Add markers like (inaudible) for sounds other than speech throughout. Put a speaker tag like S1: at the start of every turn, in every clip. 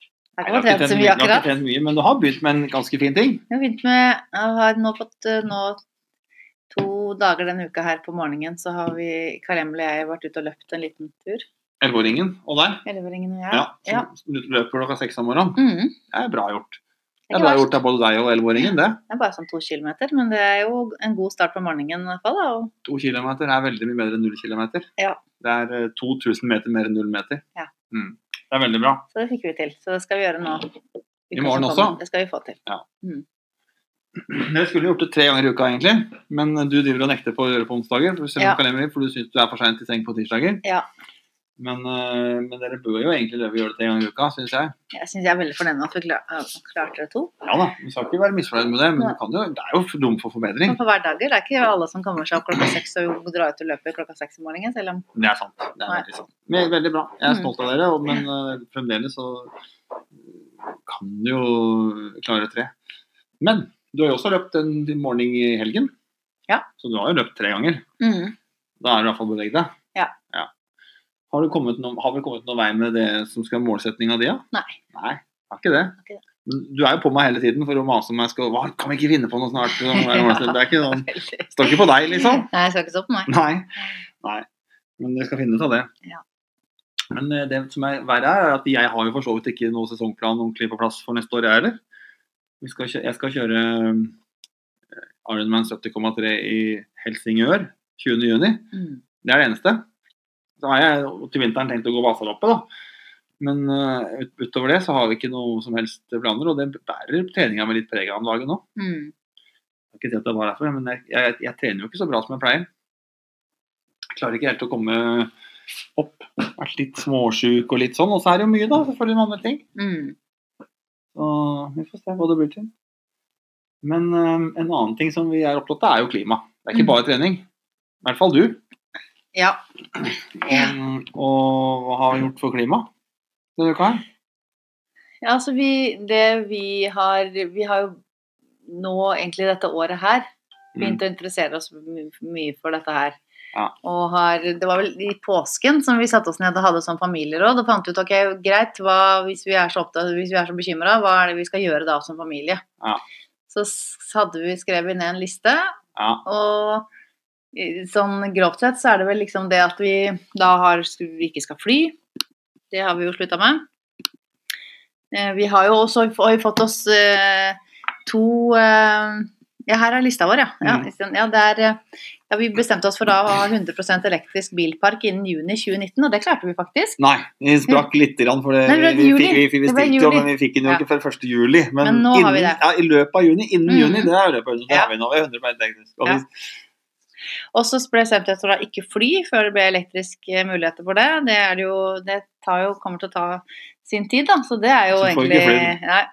S1: Jeg
S2: Nei,
S1: har ikke
S2: du har ikke trent mye- du har
S1: trent så mye
S2: ikke
S1: akkurat.
S2: trent mye, men du har begynt med en ganske fin ting.
S1: Jeg har begynt med Jeg har nå fått eh, nå to dager denne uka her på morgenen, så har vi Karemel og jeg vært ute og løpt en liten tur.
S2: Elleveåringen og deg.
S1: Elleveåringen og jeg.
S2: Ja. sånn. som Du løper klokka seks om morgenen.
S1: Mm,
S2: Det er bra gjort.
S1: det
S2: Det
S1: er
S2: er bra
S1: ikke verst.
S2: gjort av både deg og elleveåringen, det.
S1: Det er bare sånn to kilometer, men det er jo en god start på morgenen i hvert fall. Da. og-
S2: To kilometer er veldig mye bedre enn null kilometer.
S1: Ja.
S2: Det er eh, 2000 meter mer enn null meter.
S1: Ja.
S2: Mm. Det er veldig bra.
S1: Så det fikk vi til. Så det skal vi gjøre nå.
S2: I morgen
S1: Uka som kommer.
S2: også?
S1: Det skal vi få til.
S2: Dere skulle gjort det tre ganger i uka, egentlig, men eh, du driver og nekter på å gjøre det på onsdager, for, selv om
S1: Ja.
S2: kalenderen- for du syns du er for seint i seng på tirsdager.
S1: Ja.
S2: Men, eh, men dere bør jo egentlig løpe og gjøre det tre ganger i uka, syns jeg.
S1: Jeg syns jeg er veldig fornøyd med at vi klar- at vi klarte det to.
S2: Ja da, vi skal ikke være misfornøyd med det, men
S1: Nei.
S2: du kan jo, det er jo rom for forbedring.
S1: Men på Sånn hverdager det er ikke alle som kommer seg opp klokka seks og drar ut og løper klokka seks om morgenen, selv om
S2: Det er sant. Det er
S1: Nei.
S2: veldig, sant. Men, veldig bra. Jeg er
S1: Mm.
S2: stolt av dere, og- men eh, fremdeles så kan du jo klare tre. Men du har jo også løpt en morgen i helgen,
S1: Ja.
S2: så du har jo løpt tre ganger.
S1: mm. (laughs)
S2: Da er du i hvert fall belegg deg.
S1: Ja.
S2: Har, du kommet noen, har vi kommet noen vei med det som skal være målsetninga di? da?
S1: Nei.
S2: Nei, har ikke det.
S1: Har ikke det.
S2: Men du er jo på meg hele tiden for å mase om jeg skal Hva, Kan vi ikke finne på noe snart? Sånn, er det målsetting? Det er ikke sånn
S1: (laughs) Veldig.
S2: Står ikke på deg, liksom.
S1: Nei, jeg skal ikke stå på meg.
S2: (laughs) Nei. Nei. Men dere skal finne ut av det.
S1: Ja.
S2: Men eh, det som er verre, er at jeg har jo for så vidt ikke noe sesongplan ordentlig på plass for neste år, jeg heller. Vi skal kjø jeg skal kjøre eh, Ironman 70,3 i Helsingør 20.6.
S1: Mm.
S2: Det er det eneste. Da har jeg til vinteren tenkt å gå Vasaloppet, da. Men eh, ut utover det så har vi ikke noe som helst planer, og det bærer treninga med litt preg av om dagen nå.
S1: Mm.
S2: Jeg kan ikke si at det var derfor, men jeg, jeg, jeg trener jo ikke så bra som jeg pleier. Jeg klarer ikke helt å komme opp. Vært litt småsjuk og litt sånn. Og så er det jo mye, da, selvfølgelig med andre ting.
S1: Mm.
S2: Så vi får se hva det blir til. Men øhm, en annen ting som vi er opptatt av, er jo klima. Det er ikke
S1: Mm.
S2: bare trening. I hvert fall du.
S1: Ja.
S2: Og, og hva har vi gjort for klima? Denne uka her?
S1: ja, altså vi Det vi har Vi har jo nå egentlig dette året her begynt å interessere oss my mye for dette her.
S2: Ja.
S1: Og har Det var vel i påsken som vi satte oss ned og hadde sånn familieråd og fant ut ok, greit, hva, hvis vi er så opptatt, hvis vi er så bekymra, hva er det vi skal gjøre da som familie?
S2: Ja.
S1: Så s- hadde vi skrevet ned en liste,
S2: Ja.
S1: og i- sånn grovt sett så er det vel liksom det at vi da har, vi ikke skal fly. Det har vi jo slutta med. Eh, Vi har jo også har vi fått oss eh, to eh, Ja, her er lista vår, ja. Ja,
S2: Mhm.
S1: isteden- ja, det er, eh, ja. Vi bestemte oss for da å ha 100 elektrisk bilpark innen juni 2019, og det klarte vi faktisk.
S2: Nei, vi sprakk lite grann, for det,
S1: Hm. Nei, det ble
S2: vi,
S1: juli.
S2: fikk, vi, vi,
S1: Det ble
S2: stilte jo,
S1: juli.
S2: men vi fikk den jo
S1: Ja.
S2: ikke før 1. juli. Men,
S1: Men nå har vi
S2: innen,
S1: det.
S2: Ja, i løpet av juni, innen
S1: Mm.
S2: juni, det er i løpet av juni, det
S1: Ja.
S2: har vi nå. Vi er 100 teknisk. Og
S1: Ja.
S2: hvis-
S1: Og så ble det bestemt oss for da ikke fly før det ble elektriske muligheter for det. Det, er det jo, det tar jo, kommer til å ta sin tid, da. Så det er jo
S2: Så får vi
S1: egentlig
S2: ikke
S1: Nei.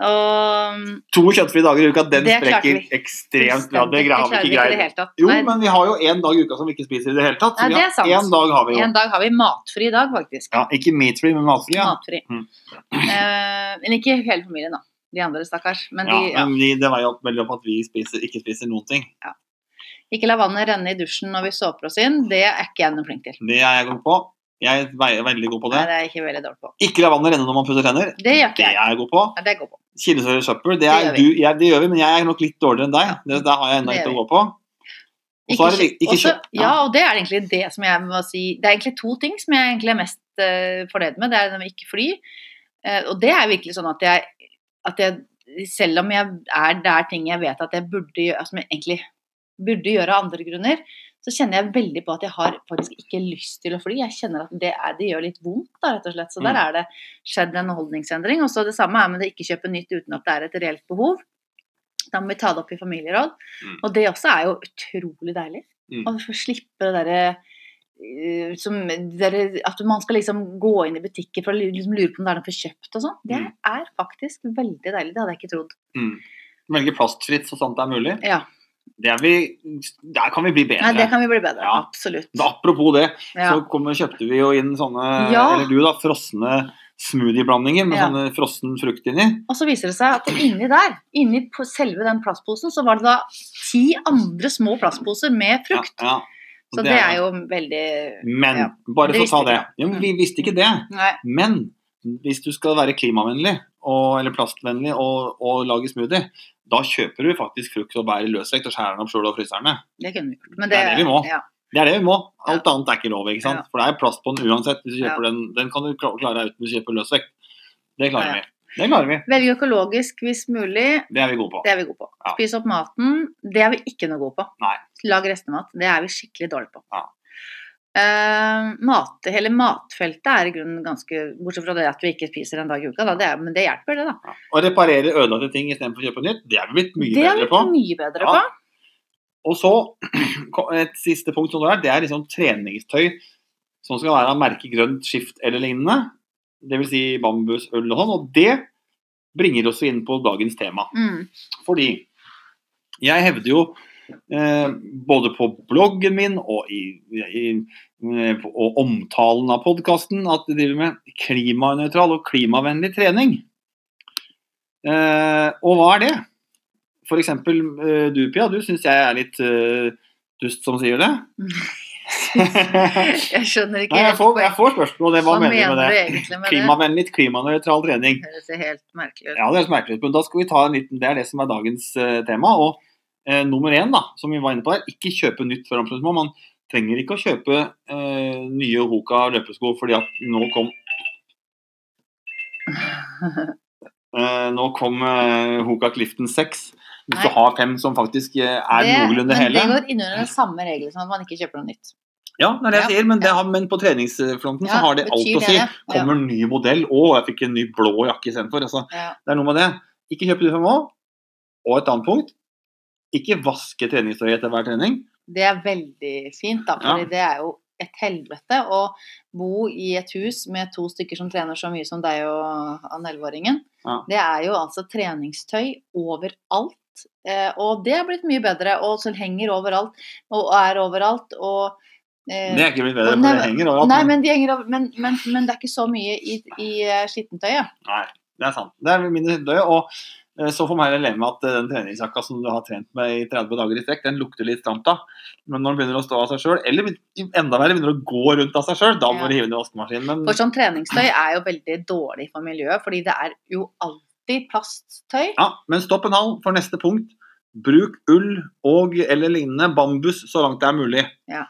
S1: Og
S2: To kjøttfrie dager i uka, den
S1: Det
S2: sprekker
S1: klarte vi.
S2: ekstremt bra. Det greier vi
S1: klarer
S2: ikke.
S1: i det
S2: Greier.
S1: hele tatt.
S2: Jo,
S1: Nei,
S2: men vi har jo én dag i uka som vi ikke spiser i det hele tatt.
S1: Nei,
S2: Så vi
S1: det
S2: har-
S1: er sant.
S2: én dag har vi jo.
S1: En dag har vi matfri dag, faktisk.
S2: Ja, ikke meatfree, men matfree. Ja.
S1: Matfri.
S2: Mm.
S1: Eh, men ikke hele familien, da. De andre, stakkars. Men de,
S2: Ja,
S1: ja.
S2: men vi, det var jo opp- veldig opp at vi spiser, ikke spiser noen ting.
S1: Ikke la vannet renne i dusjen når vi såper oss inn. Det er ikke jeg noe flink til.
S2: Det er jeg god på. Jeg er veldig god på
S1: Nei,
S2: det.
S1: det er jeg ikke veldig dårlig på.
S2: Ikke la vannet renne når man pusser tenner.
S1: Det gjør
S2: Det
S1: ikke
S2: er
S1: jeg.
S2: jeg god på.
S1: Ja, det går på.
S2: Kilesår og søppel, det,
S1: Det
S2: er
S1: gjør vi.
S2: du, jeg, det gjør vi, men jeg er nok litt dårligere enn deg. Det, der har jeg ennå
S1: Det
S2: litt
S1: gjør
S2: å gå på. Og så er det
S1: kjø-
S2: ikke
S1: også-
S2: kjøtt.
S1: Ja, og det er egentlig det som jeg må si Det er egentlig to ting som jeg egentlig er mest eh, fornøyd med. Det er det med ikke fly. Eh, og det er virkelig sånn at jeg, at jeg Selv om jeg er der ting jeg vet at jeg burde gjøre Som jeg egentlig burde gjøre av andre grunner, så kjenner jeg veldig på at jeg har faktisk ikke lyst til å fly. Jeg kjenner at det, er, det gjør litt vondt, da, rett og slett. Så der
S2: Mm.
S1: er det skjedd en holdningsendring. Og så det samme er med det ikke kjøpe nytt uten at det er et reelt behov. Da må vi ta det opp i familieråd.
S2: Mm.
S1: Og det også er jo utrolig deilig.
S2: Mm.
S1: Å få slippe det derre eh, som dere, At man skal liksom gå inn i butikker for å lu- liksom lure på om det er noe for kjøpt og sånn. Det
S2: Mm.
S1: er faktisk veldig deilig. Det hadde jeg ikke trodd.
S2: Mm. Velge plastfritt så sant det er mulig.
S1: Ja.
S2: Det er vi, der kan vi bli bedre.
S1: Nei, det kan vi bli bedre.
S2: Ja.
S1: Absolutt.
S2: Da, apropos det,
S1: Ja.
S2: så kom, kjøpte vi jo inn sånne
S1: Ja.
S2: eller du da, frosne smoothieblandinger med
S1: Ja.
S2: sånne frossen frukt inni.
S1: Og så viser det seg at inni der, inni på selve den plastposen, så var det da ti andre små plastposer med frukt.
S2: Ja, ja.
S1: Så det er jo veldig
S2: Men
S1: ja.
S2: bare
S1: Det
S2: for å ta
S1: visste Mm.
S2: det.
S1: ikke
S2: Ja, men vi visste ikke det.
S1: Nei.
S2: Men hvis du skal være klimavennlig, og, eller plastvennlig, og, og lage smoothie, da kjøper du faktisk frukt og bær i løsvekt og skjærer den opp sjøl og fryser den ned.
S1: Det kunne vi gjort. Men
S2: Det er det vi må.
S1: Ja.
S2: Det er det vi må. Alt annet er ikke lov, ikke sant.
S1: Ja.
S2: For det er plast på den uansett. Hvis du
S1: Ja.
S2: kjøper den, den kan du kla- klare deg uten å kjøpe løsvekt. Det
S1: Ja,
S2: klarer
S1: ja.
S2: vi. Det klarer vi.
S1: Velge økologisk hvis mulig,
S2: Det er vi gode på.
S1: det er vi gode på.
S2: Ja.
S1: Spise opp maten, det er vi ikke noe gode på.
S2: Nei.
S1: Lag restemat, det er vi skikkelig dårlige på.
S2: Ja.
S1: Eh, mat, hele matfeltet er i grunnen ganske Bortsett fra det at vi ikke spiser en dag i uka, da, det er, men det hjelper, det, da.
S2: Ja. Å reparere ødelagte ting istedenfor å kjøpe nytt, det er vi blitt mye
S1: det er
S2: bedre
S1: vi
S2: på.
S1: mye bedre
S2: Ja.
S1: på.
S2: Og så (clears throat) kom- et siste punkt som det er, det er liksom treningstøy som skal være av merke grønt skift eller lignende. Dvs. Si bambus, øl og sånn. Og det bringer oss inn på dagens tema.
S1: Mm.
S2: Fordi jeg hevder jo eh, både på bloggen min og i, i eh, og omtalen av podkasten at de driver med klimanøytral og klimavennlig trening. Eh, og hva er det? For eksempel eh, du, Pia. Du syns jeg er litt eh, dust som sier (laughs) det. Nei,
S1: Jeg skjønner ikke
S2: jeg
S1: helt
S2: får, jeg får spørsmål om det. Hva mener du med det?
S1: egentlig med det?
S2: Klimavennlig, klimanøytral trening.
S1: Det høres jo helt merkelig ut.
S2: Ja, det er merkelig, men da skal vi ta en liten, det er det som er dagens eh, tema. Og eh, nummer én, da, som vi var inne på her, ikke kjøpe nytt for amputasjon. Man trenger ikke å kjøpe eh, nye Hoka løpesko fordi at nå
S1: (laughs)
S2: kom eh, Nå kom eh, Hoka Clifton 6. Hvis
S1: Nei.
S2: du har fem som faktisk eh, er
S1: men
S2: noenlunde hele.
S1: det går innunder den samme regelen som at man ikke kjøper noe nytt.
S2: Ja, det er det jeg
S1: Ja,
S2: sier, men, det har, men på treningsfronten så
S1: Ja,
S2: har det alt
S1: betyr
S2: å si.
S1: det? Ja.
S2: Kommer en ny modell, å, jeg fikk en ny blå jakke istedenfor. Altså,
S1: Ja.
S2: Det er noe med det. Ikke kjøp det for nå. Og et annet punkt. Ikke vaske treningstøyet etter hver trening.
S1: Det er veldig fint, da, for
S2: Ja.
S1: det er jo et helvete å bo i et hus med to stykker som trener så mye som deg og han 11-åringen.
S2: Ja.
S1: Det er jo altså treningstøy overalt, eh, og det er blitt mye bedre. Og så henger overalt, og er overalt, og eh,
S2: Det er ikke blitt bedre,
S1: Nei,
S2: for det henger overalt.
S1: Nei,
S2: men-
S1: men, de henger over, men, men, men det er ikke så mye i, i eh, skittentøyet.
S2: Nei, det er sant. Det er mindre død. Og eh, så får man heller leve med at eh, den treningsjakka som du har trent med i 30 dager i strekk, den lukter litt stramt av. Men når den begynner å stå av seg sjøl, eller begyn- enda verre, begynner å gå rundt av seg sjøl, da
S1: Ja.
S2: må du hive den i vaskemaskinen. Men
S1: For sånn treningstøy er jo veldig dårlig for miljøet, fordi det er jo alltid plasttøy.
S2: Ja, men stopp en hal for neste punkt. Bruk ull og eller lignende bambus så langt det er mulig.
S1: Ja.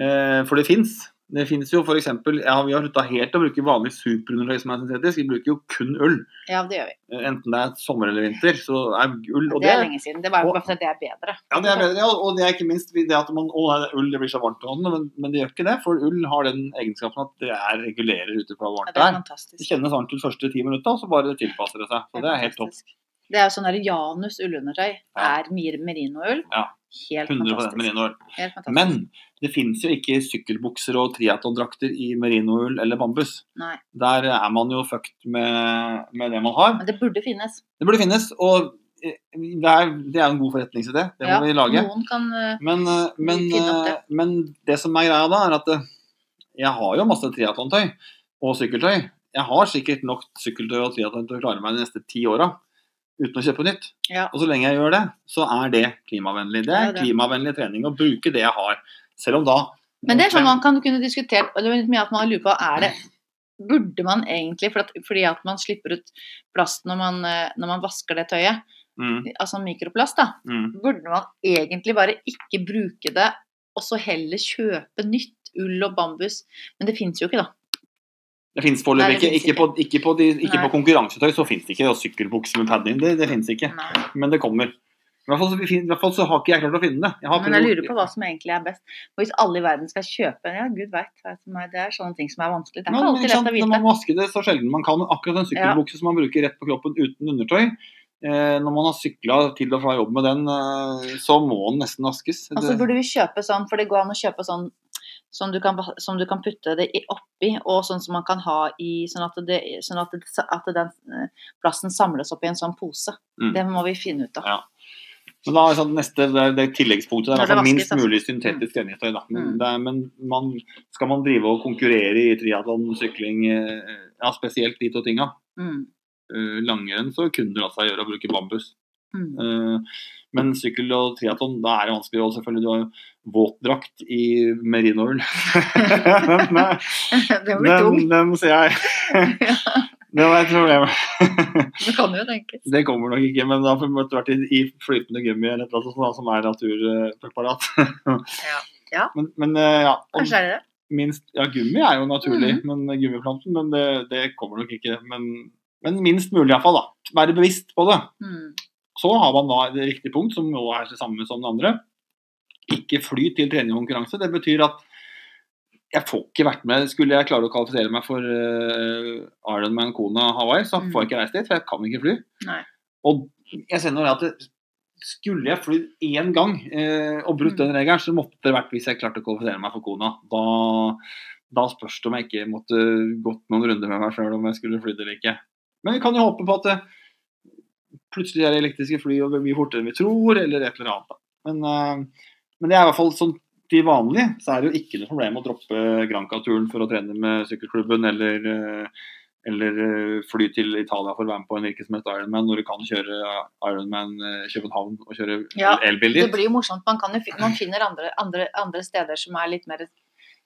S2: Eh, for det fins. Det fins jo f.eks. Ja, vi har slutta helt å bruke vanlig superundertøy som er syntetisk. Vi bruker jo kun ull.
S1: Ja, det gjør vi.
S2: Eh, Enten det er sommer eller vinter, så er ull og
S1: det
S2: det,
S1: er lenge siden. Det var jo
S2: og-
S1: bare fordi det er bedre.
S2: ja, det er bedre. Ja, og det er ikke minst det at man Å, nei, ull det blir så varmt på hånden, men, men det gjør ikke det. For ull har den egenskapen at det er regulerer ut ifra hvor
S1: Ja,
S2: varmt
S1: det
S2: det
S1: er
S2: er. Det
S1: fantastisk.
S2: kjennes varmt ut første ti minutta, og så bare tilpasser det seg. Så det er helt topp.
S1: fantastisk. Det er jo sånn der Janus ullundertøy
S2: Ja.
S1: er mir- merinoull.
S2: Ja.
S1: Helt
S2: 100
S1: fantastisk.
S2: merinoer.
S1: Helt fantastisk.
S2: Men det finnes jo ikke sykkelbukser og triatlondrakter i merinoull eller bambus.
S1: Nei.
S2: Der er man jo fucked med, med det man har.
S1: Men det burde finnes.
S2: Det burde finnes, og eh, det er, det er en god forretningsidé. Det
S1: Ja,
S2: må vi lage.
S1: Noen kan eh,
S2: Men, eh, men,
S1: Vi finner opp det.
S2: eh, men det som er greia da, er at eh, jeg har jo masse triatlontøy og sykkeltøy. Jeg har sikkert nok sykkeltøy og triatlon til å klare meg de neste ti åra uten å kjøpe nytt.
S1: Ja.
S2: Og så lenge jeg gjør det, så er det klimavennlig. Det
S1: Ja,
S2: er
S1: det.
S2: klimavennlig trening å bruke det jeg har. Selv om da
S1: Men det er sånn man kan kunne diskutert og det er litt mye at man lurer på er det Burde man egentlig, for at, fordi at man slipper ut plast når man, eh, når man vasker det tøyet,
S2: Mm,
S1: altså mikroplast, da,
S2: mm.
S1: burde man egentlig bare ikke bruke det, og så heller kjøpe nytt ull og bambus? Men det fins jo ikke, da.
S2: Det fins
S1: Nei,
S2: foreløpig
S1: det
S2: ikke.
S1: finnes
S2: Ikke på, ikke på, de, ikke
S1: Nei.
S2: på konkurransetøy så fins det ikke. Og sykkelbukse med padding, det, det fins ikke.
S1: Nei.
S2: Men det kommer. I hvert fall, så, fin- i hvert fall så har ikke jeg klart å finne det. Jeg har
S1: Men jeg
S2: prøvd-
S1: lurer på hva som egentlig er best. Og hvis alle i verden skal kjøpe Ja, gud veit. Det er sånne ting som er vanskelig. Det er
S2: Nei,
S1: ikke
S2: men
S1: alltid
S2: ikke sant,
S1: lett å
S2: Når man
S1: vite.
S2: vasker det så sjelden man kan, men akkurat en sykkelbukse som man bruker rett på kroppen uten undertøy eh, Når man har sykla til og fra jobb med den, eh, så må den nesten vaskes.
S1: Og så
S2: Det-
S1: burde vi kjøpe sånn, for det går an å kjøpe sånn som du kan, som du kan putte det i- oppi, og sånn som man kan ha i Sånn at, det, sånn at, det, at den eh, plasten samles opp i en sånn pose.
S2: Mm.
S1: Det må vi finne ut av.
S2: Ja. Men da er sånn, neste, det, det tilleggspunktet er
S1: Når det
S2: altså, minst
S1: vaskes, altså.
S2: mulig syntetisk rengetøy. Da. Men,
S1: Mm.
S2: det er, men man, skal man drive og konkurrere i triatlon, sykling, eh, ja, spesielt de to tinga,
S1: Mm.
S2: eh, langrenn, så kunne det la seg gjøre å bruke bambus.
S1: Mm. (laughs)
S2: Eh, Men sykkel og triatlon, da er det vanskelig. Og selvfølgelig, du har jo våtdrakt i (laughs) merinoull. den,
S1: det blir
S2: den,
S1: tungt.
S2: den ser
S1: (laughs)
S2: jeg. Det var et problem.
S1: Det kan jo tenkes.
S2: Det kommer nok ikke, men da får vi etter hvert i, i flytende gummi eller et eller annet sånt, da, som er naturpreparat. (laughs)
S1: Ja. Ja.
S2: Men, men eh, ja, om
S1: Kanskje Mm. er det det.
S2: minst, ja, gummi er jo naturlig, men gummiplanten, men det, det kommer nok ikke. Men, men minst mulig iallfall, da. Være bevisst på det.
S1: Mm.
S2: Så har man da et riktig punkt, som nå er det samme som det andre. Ikke fly til trening og konkurranse. Det betyr at jeg får ikke vært med. Skulle jeg klare å kvalifisere meg for uh, Ironman Kona Hawaii, så
S1: Mm.
S2: får jeg ikke reist dit, for jeg kan ikke fly.
S1: Nei.
S2: Og jeg ser nå det at det, skulle jeg flydd én gang eh, og brutt
S1: Mm.
S2: den regelen, så måtte det vært hvis jeg klarte å kvalifisere meg for Kona. Da, da spørs det om jeg ikke måtte gått noen runder med meg sjøl om jeg skulle flydd eller ikke. Men vi kan jo håpe på at det, plutselig er det elektriske fly og mye fortere enn vi tror, eller et eller annet. da. Men, eh, men det er i hvert fall sånn til vanlig så er det jo ikke noe problem å droppe Granca-turen for å trene med sykkelklubben eller, eh, eller eh, fly til Italia for å være med på en hvilken som helst Ironman, når du kan kjøre Ironman eh, København og kjøre
S1: Ja,
S2: elbil
S1: Det
S2: dit.
S1: blir jo morsomt. Man, kan jo, fin- man finner andre, andre, andre steder som er litt mer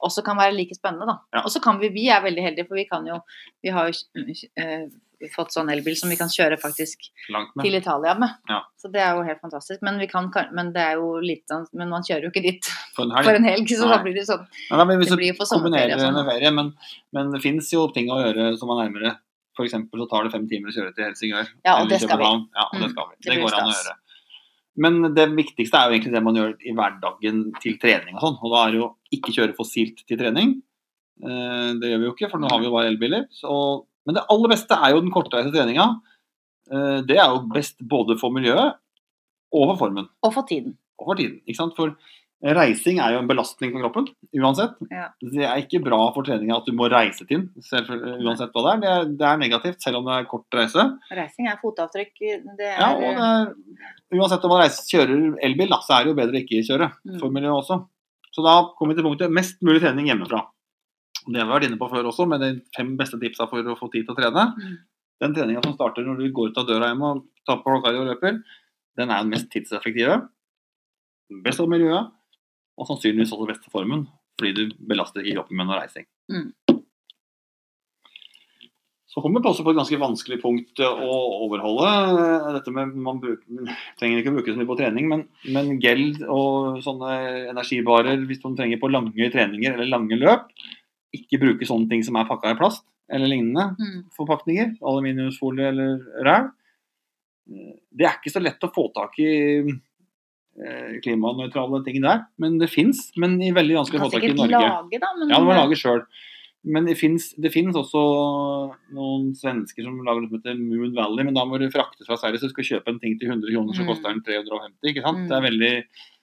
S1: også kan være like spennende, da.
S2: Ja.
S1: Og så kan vi Vi er veldig heldige, for vi kan jo Vi har jo eh, fått sånn elbil som vi kan kjøre faktisk
S2: Langt med.
S1: til Italia med.
S2: Ja.
S1: Så det er jo helt fantastisk. Men vi kan kan- Men det er jo litt sånn Men man kjører jo ikke dit
S2: For en
S1: for
S2: helg.
S1: en helg, så da
S2: Nei.
S1: blir det sånn.
S2: Nei, da, men hvis
S1: Det
S2: du
S1: blir jo for
S2: kombinerer
S1: sommerferie
S2: det
S1: og sånn.
S2: med ferie, men, men det fins jo ting å gjøre som er nærmere. F.eks. så tar det fem timer å kjøre til Helsingør.
S1: Ja, og
S2: eller
S1: det skal vi.
S2: København. Ja, og det
S1: Mm,
S2: skal vi.
S1: det
S2: Det
S1: blir
S2: går an å
S1: stas.
S2: gjøre. Men det viktigste er jo egentlig det man gjør i hverdagen til trening og sånn. Og da er det jo ikke kjøre fossilt til trening. Eh, Det gjør vi jo ikke, for nå har vi jo bare elbiler. Så... Men det aller beste er jo den kortreiste treninga. Eh, Det er jo best både for miljøet og for formen
S1: Og for tiden.
S2: og for tiden. Ikke sant? For reising er jo en belastning for kroppen, uansett.
S1: Ja.
S2: Det er ikke bra for treninga at du må reise til den, selvfø- uansett hva det er. Det er, det er negativt, selv om det er kort reise.
S1: Reising er fotavtrykk. eh, Det er
S2: Ja, og det er, uansett om man reiser, kjører elbil, da, så er det jo bedre å ikke kjøre,
S1: Mm.
S2: for miljøet også. Så da kommer vi til punktet mest mulig trening hjemmefra. Og Det har vi vært inne på før også, med de fem beste tipsa for å få tid til å trene.
S1: Mm.
S2: Den treninga som starter når du går ut av døra hjemme og tar på klokka di og løper, den er den mest tidseffektive. Best for miljøet, og sannsynligvis også best for formen, fordi du belaster ikke kroppen med noe reising.
S1: Mm.
S2: Så kommer vi også på et ganske vanskelig punkt eh, å overholde. eh, Dette med Man bruker, trenger ikke å bruke så mye på trening, men, men gel og sånne energibarer hvis man trenger på lange treninger eller lange løp. Ikke bruke sånne ting som er pakka i plast eller lignende
S1: Mm.
S2: forpakninger, aluminiumsfolie eller ræl. Det er ikke så lett å få tak i eh, klimanøytrale ting der, men det fins. Men i veldig vanskelig å
S1: Kan
S2: få tak i i
S1: sikkert
S2: Norge.
S1: lage, da, men
S2: Ja, det må lage sjøl. Men det fins det finnes også noen svensker som lager noe som heter Moon Valley, men da må du fraktes fra Sverige, så du skal kjøpe en ting til 100 kroner, så
S1: Mm.
S2: koster den 350. ikke sant?
S1: Mm.
S2: Det er veldig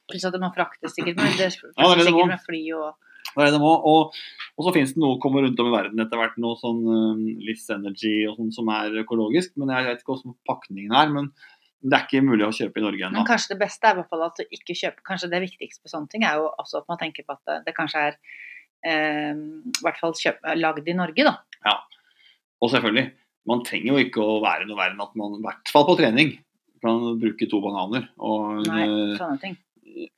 S1: Pluss at det må fraktes sikkert med,
S2: Ja,
S1: det,
S2: det er det det må.
S1: sikkert med fly og
S2: Hva er det de må? Og, og så finnes det noe kommer rundt om i verden etter hvert, noe sånn um, Liss Energy og sånn som er økologisk. Men jeg vet ikke hvordan pakningen er. Men det er ikke mulig å kjøpe i Norge ennå.
S1: Men kanskje det beste er i hvert fall at du ikke kjøper Kanskje det viktigste på sånne ting er jo også at man tenker på at det, det kanskje er eh, i hvert fall kjøp, lagd i Norge, da.
S2: Og selvfølgelig, man trenger jo ikke å være noe verre enn at man i hvert fall på trening kan bruke to bananer og
S1: Nei,
S2: en, eh,
S1: sånne ting.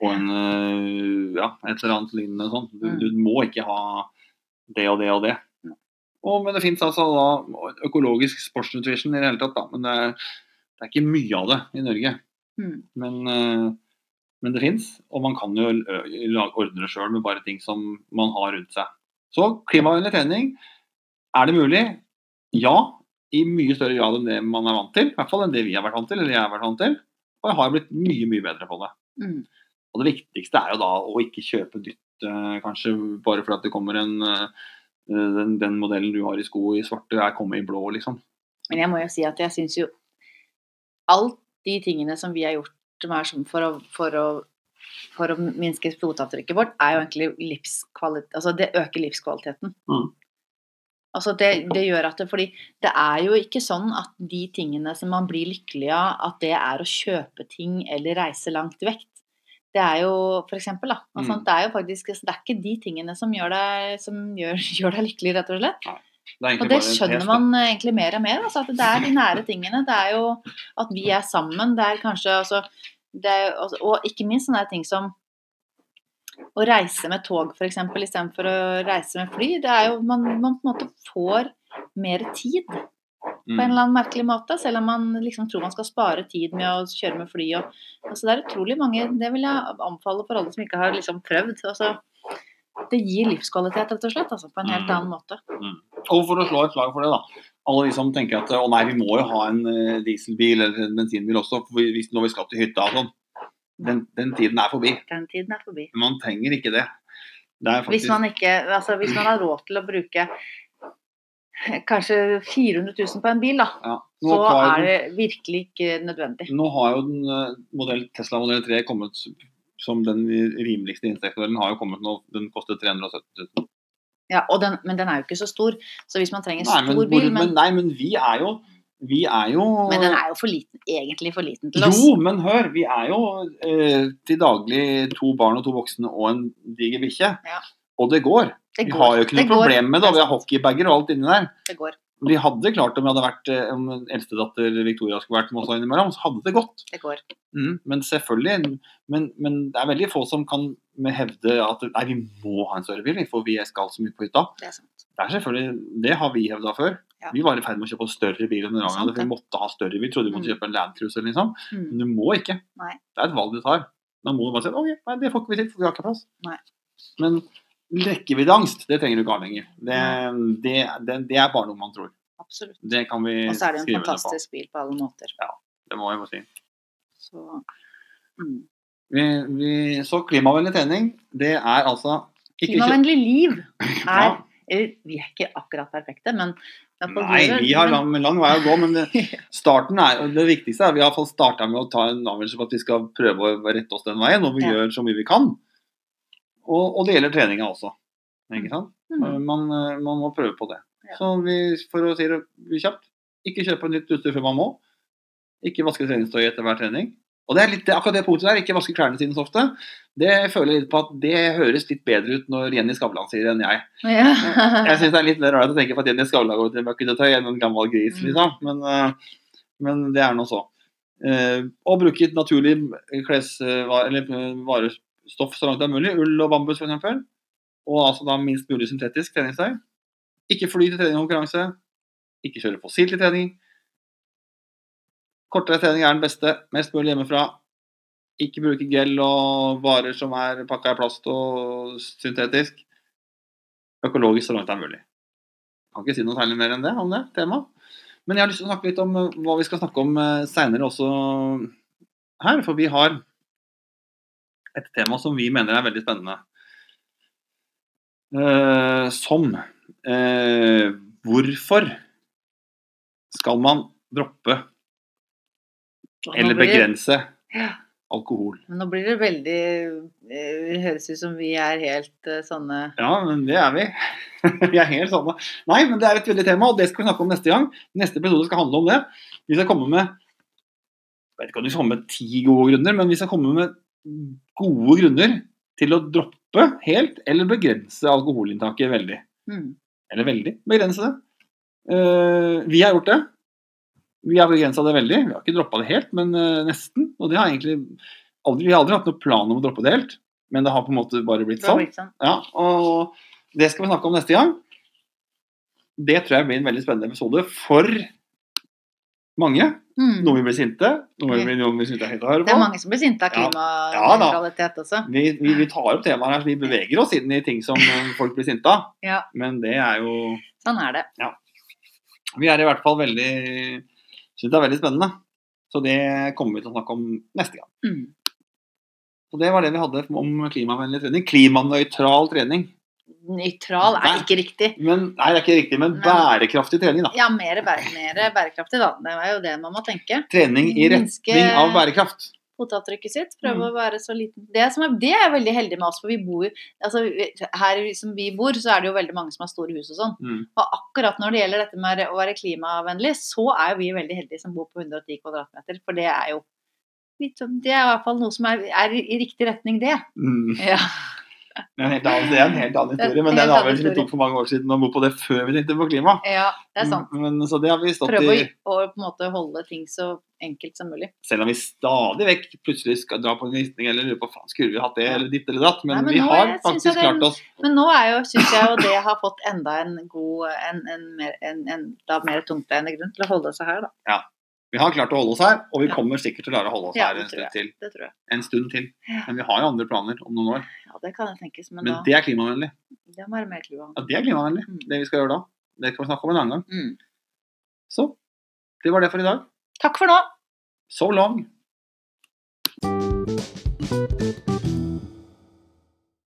S2: og en eh, ja, et eller annet lignende sånn. Du,
S1: Mm.
S2: du må ikke ha det og det og det.
S1: Nei.
S2: Og, men det fins altså da økologisk sportsnutrition i det hele tatt, da. Men det er, det er ikke mye av det i Norge.
S1: Mm.
S2: Men, eh, men det fins, og man kan jo ø- lage- ordne det sjøl med bare ting som man har rundt seg. Så klimavennlig trening, er det mulig? Ja, i mye større grad enn det man er vant til. I hvert fall enn det vi har vært vant til, eller jeg har vært vant til. Og jeg har blitt mye, mye bedre på det.
S1: Mm.
S2: Og det viktigste er jo da å ikke kjøpe dytt, eh, kanskje bare fordi at det kommer en eh, den, den modellen du har i sko i svarte, er kommet i blå, liksom.
S1: Men jeg må jo si at jeg syns jo alt de tingene som vi har gjort som er sånn for å, for å for å minske fotavtrykket vårt, er jo egentlig livskvalitet Altså det øker livskvaliteten.
S2: Mm.
S1: Altså det, det gjør at det Fordi det er jo ikke sånn at de tingene som man blir lykkelig av, at det er å kjøpe ting eller reise langt vekk. Det er jo for eksempel, da. Altså,
S2: Mm.
S1: Det er jo faktisk Det er ikke de tingene som gjør deg, som gjør, (laughs) gjør deg lykkelig, rett og slett.
S2: Det er egentlig
S1: Og det
S2: bare en
S1: skjønner
S2: test, da.
S1: man eh, egentlig mer og mer. Altså, at det er de nære tingene. Det er jo at vi er sammen. Det er kanskje altså, det er, jo- altså, Og ikke minst sånne ting som å reise med tog, f.eks., istedenfor å reise med fly. Det er jo man, man på en måte får mer tid på en
S2: Mm.
S1: eller annen merkelig måte, selv om man liksom tror man skal spare tid med å kjøre med fly og altså, Det er utrolig mange Det vil jeg anbefale for alle som ikke har liksom prøvd. Altså, det gir livskvalitet, rett og slett, altså, på en helt
S2: Mm.
S1: annen måte.
S2: Og for å slå et slag for det, da. Alle de som tenker at å nei, vi må jo ha en eh, dieselbil eller en bensinbil også for vi- hvis, når vi skal til hytta og sånn. Den, den tiden er forbi.
S1: Den tiden er forbi.
S2: Men man trenger ikke det. Det er
S1: Hvis
S2: faktisk
S1: man, ikke, altså hvis man har råd til å bruke kanskje 400 000 på en bil, da,
S2: ja.
S1: så
S2: Nå, tar
S1: er
S2: den,
S1: det virkelig ikke nødvendig.
S2: nå har jo den eh, modell, Tesla modell 3 kommet som den rimeligste inntektsmodellen. har jo kommet nå. Den koster 370 000.
S1: Ja, og den, men den er jo ikke så stor, så hvis man trenger
S2: Nei men,
S1: stor bil men,
S2: men, nei, men vi er jo Vi er jo
S1: men den er jo for liten, egentlig for liten til oss.
S2: Jo, men hør, vi er jo eh, til daglig to barn og to voksne og en diger bikkje.
S1: Ja.
S2: Og det går.
S1: det
S2: Vi har jo ikke
S1: det
S2: noe
S1: går,
S2: problem med det, og vi har hockeybager og alt inni der.
S1: Det går.
S2: Vi hadde klart om vi hadde vært, eh, om en eldstedatter Victoria skulle vært med oss innimellom, så hadde det gått.
S1: det går.
S2: Mm, men selvfølgelig, men, men det er veldig få som kan med hevde at nei, vi må ha en større bil, for vi skal så mye på hytta.
S1: Det er sant.
S2: Det er selvfølgelig, det har vi hevda før.
S1: Ja.
S2: Vi var i ferd med å kjøpe en større bil enn den gangen,
S1: sant,
S2: for vi måtte ha større bil. Vi trodde vi måtte
S1: Mm.
S2: kjøpe en Land Cruiser, liksom. Men
S1: Mm.
S2: Du må ikke.
S1: Nei.
S2: Det er et valg du tar. Da må du bare si ok, nei, det får ikke vi til, for vi har ikke plass.
S1: Nei.
S2: Men rekkeviddeangst, det trenger du ikke ha lenger. Det, det, det, det er bare noe man tror.
S1: Absolutt.
S2: Det kan vi
S1: Og så er det
S2: skrive
S1: jo en
S2: under på.
S1: fantastisk bil på alle måter.
S2: Det må jeg bare si.
S1: Så mm.
S2: Vi, vi, så klimavennlig trening, det er altså ikke
S1: Klimavennlig
S2: (laughs)
S1: liv er
S2: Ja.
S1: eller, Vi er ikke akkurat perfekte, men det er på
S2: Nei,
S1: vår-
S2: vi har
S1: men-
S2: lang, lang vei å gå,
S1: (laughs)
S2: men det, starten er, det viktigste er at vi har starta med å ta en avgjørelse på at vi skal prøve å rette oss den veien, og vi
S1: Ja.
S2: gjør så mye vi kan. Og, og det gjelder treninga også. Ikke sant? Eh,
S1: Mm.
S2: Man, man må prøve på det.
S1: Ja.
S2: Så vi, for å si det kjapt, ikke kjøpe nytt utstyr før man må. Ikke vaske treningstøyet etter hver trening. Og det er litt, det er akkurat det punktet der, ikke vaske klærne sine så ofte. Det føler jeg litt på at det høres litt bedre ut når Jenny Skavlan sier det enn jeg. (laughs)
S1: Ja.
S2: Jeg syns det er litt rart å tenke på at Jenny Skavlan går til møkketøy enn en gammel gris,
S1: Mm.
S2: liksom. Men, eh, men det er nå så. Eh, Og bruke et naturlig kles, eller eh, varestoff så langt det er mulig. Ull og bambus, f.eks. Og altså da minst mulig syntetisk treningstøy. Ikke fly til trening og konkurranse. Ikke kjøre fossilt til trening. Kortere trening er den beste. Mest mulig hjemmefra. Ikke bruke gel og varer som er pakka i plast og syntetisk. Økologisk så langt det er mulig. Kan ikke si noe særlig mer enn det om det temaet. Men jeg har lyst til å snakke litt om eh, hva vi skal snakke om eh, seinere også her. For vi har et tema som vi mener er veldig spennende. Eh, som eh, Hvorfor skal man droppe
S1: Og nå
S2: eller
S1: blir-
S2: begrense
S1: Ja.
S2: alkohol?
S1: Men nå blir det veldig eh, Det høres ut som vi er helt eh, sånne
S2: Ja, men det er vi. (laughs) vi er helt samme. Nei, men det er et veldig tema, og det skal vi snakke om neste gang. Neste episode skal handle om det. Vi skal komme med jeg vet ikke om vi skal komme med ti gode grunner, men vi skal komme med gode grunner til å droppe helt eller begrense alkoholinntaket veldig.
S1: mm.
S2: Eller veldig. Begrense det. Eh, vi har gjort det. Vi har begrensa det veldig. Vi har ikke droppa det helt, men eh, nesten. Og det har egentlig aldri, vi har aldri hatt noen plan om å droppe det helt, men det har på en måte bare blitt
S1: Det har
S2: sånn.
S1: blitt sånn.
S2: Ja, og det skal vi snakke om neste gang. Det tror jeg blir en veldig spennende episode for mange.
S1: Mm.
S2: Noen vil bli sinte, noen vil, noen vil synes det er høyt å høre
S1: Det er
S2: på.
S1: mange som blir sinte av
S2: Ja. Ja da.
S1: klimanøytralitet også.
S2: Vi, vi, vi tar opp temaer her, så vi beveger oss inn i ting som eh, folk blir sinte av.
S1: Ja.
S2: Men det er jo
S1: Sånn er det.
S2: Vi er i hvert fall veldig Syns det er veldig spennende. Så det kommer vi til å snakke om neste gang.
S1: Mm.
S2: Så det var det vi hadde om klimavennlig trening. Klimanøytral trening.
S1: Nøytral
S2: Nei.
S1: er ikke riktig.
S2: Men, nei, det er ikke riktig, men
S1: Nei.
S2: bærekraftig trening, da.
S1: Ja, mer, bære, mer bærekraftig, da. Det er jo det man må tenke.
S2: Trening i
S1: Minske-
S2: retning av bærekraft.
S1: fotavtrykket sitt. Prøve
S2: Mm.
S1: å være så liten. Det, som er, det er jeg veldig heldig med oss, for vi bor jo altså, vi- Her som vi bor, så er det jo veldig mange som har store hus og sånn.
S2: Mm.
S1: Og akkurat når det gjelder dette med å være klimavennlig, så er jo vi veldig heldige som bor på 110 kvadratmeter. For det er jo litt sånn- Det er i hvert fall noe som er, er i riktig retning, det.
S2: Mm.
S1: Ja.
S2: Det er en helt annen, det er en helt annen
S1: Det er en
S2: historie, men
S1: helt
S2: den
S1: annen
S2: avgjørelsen vi
S1: historie.
S2: tok for mange år siden, og bo på det før vi tenkte på klima.
S1: ja det er sant.
S2: Men, Mm. så det har vi stått
S1: Prøve å,
S2: i,
S1: å på en måte holde ting så enkelt som mulig.
S2: selv om vi stadig vekk plutselig skal dra på en visning eller lurer på faen, skulle vi hatt det eller ditt eller datt, men,
S1: Nei, men
S2: vi
S1: nå
S2: har
S1: er- synes jeg
S2: faktisk
S1: det er-
S2: klart oss.
S1: Men nå er jo, syns jeg jo det har fått enda en god en, en, mer- en, en da mer tungtveiende grunn til å holde seg her, da.
S2: Vi har klart å holde oss her, og vi
S1: Ja.
S2: kommer sikkert til å klare å holde oss
S1: Ja,
S2: her
S1: det
S2: en
S1: tror
S2: stund, til,
S1: Det tror jeg.
S2: en stund til.
S1: Ja.
S2: Men vi har jo andre planer om noen år.
S1: Ja, det kan jeg tenkes, men,
S2: Men
S1: da
S2: det er klimavennlig.
S1: det må være mer klua.
S2: Ja, det er klimavennlig,
S1: Mm.
S2: det vi skal gjøre da. Det kan vi snakke om en annen gang.
S1: Mm.
S2: Så, det var det for i dag.
S1: Takk for nå!
S2: So long!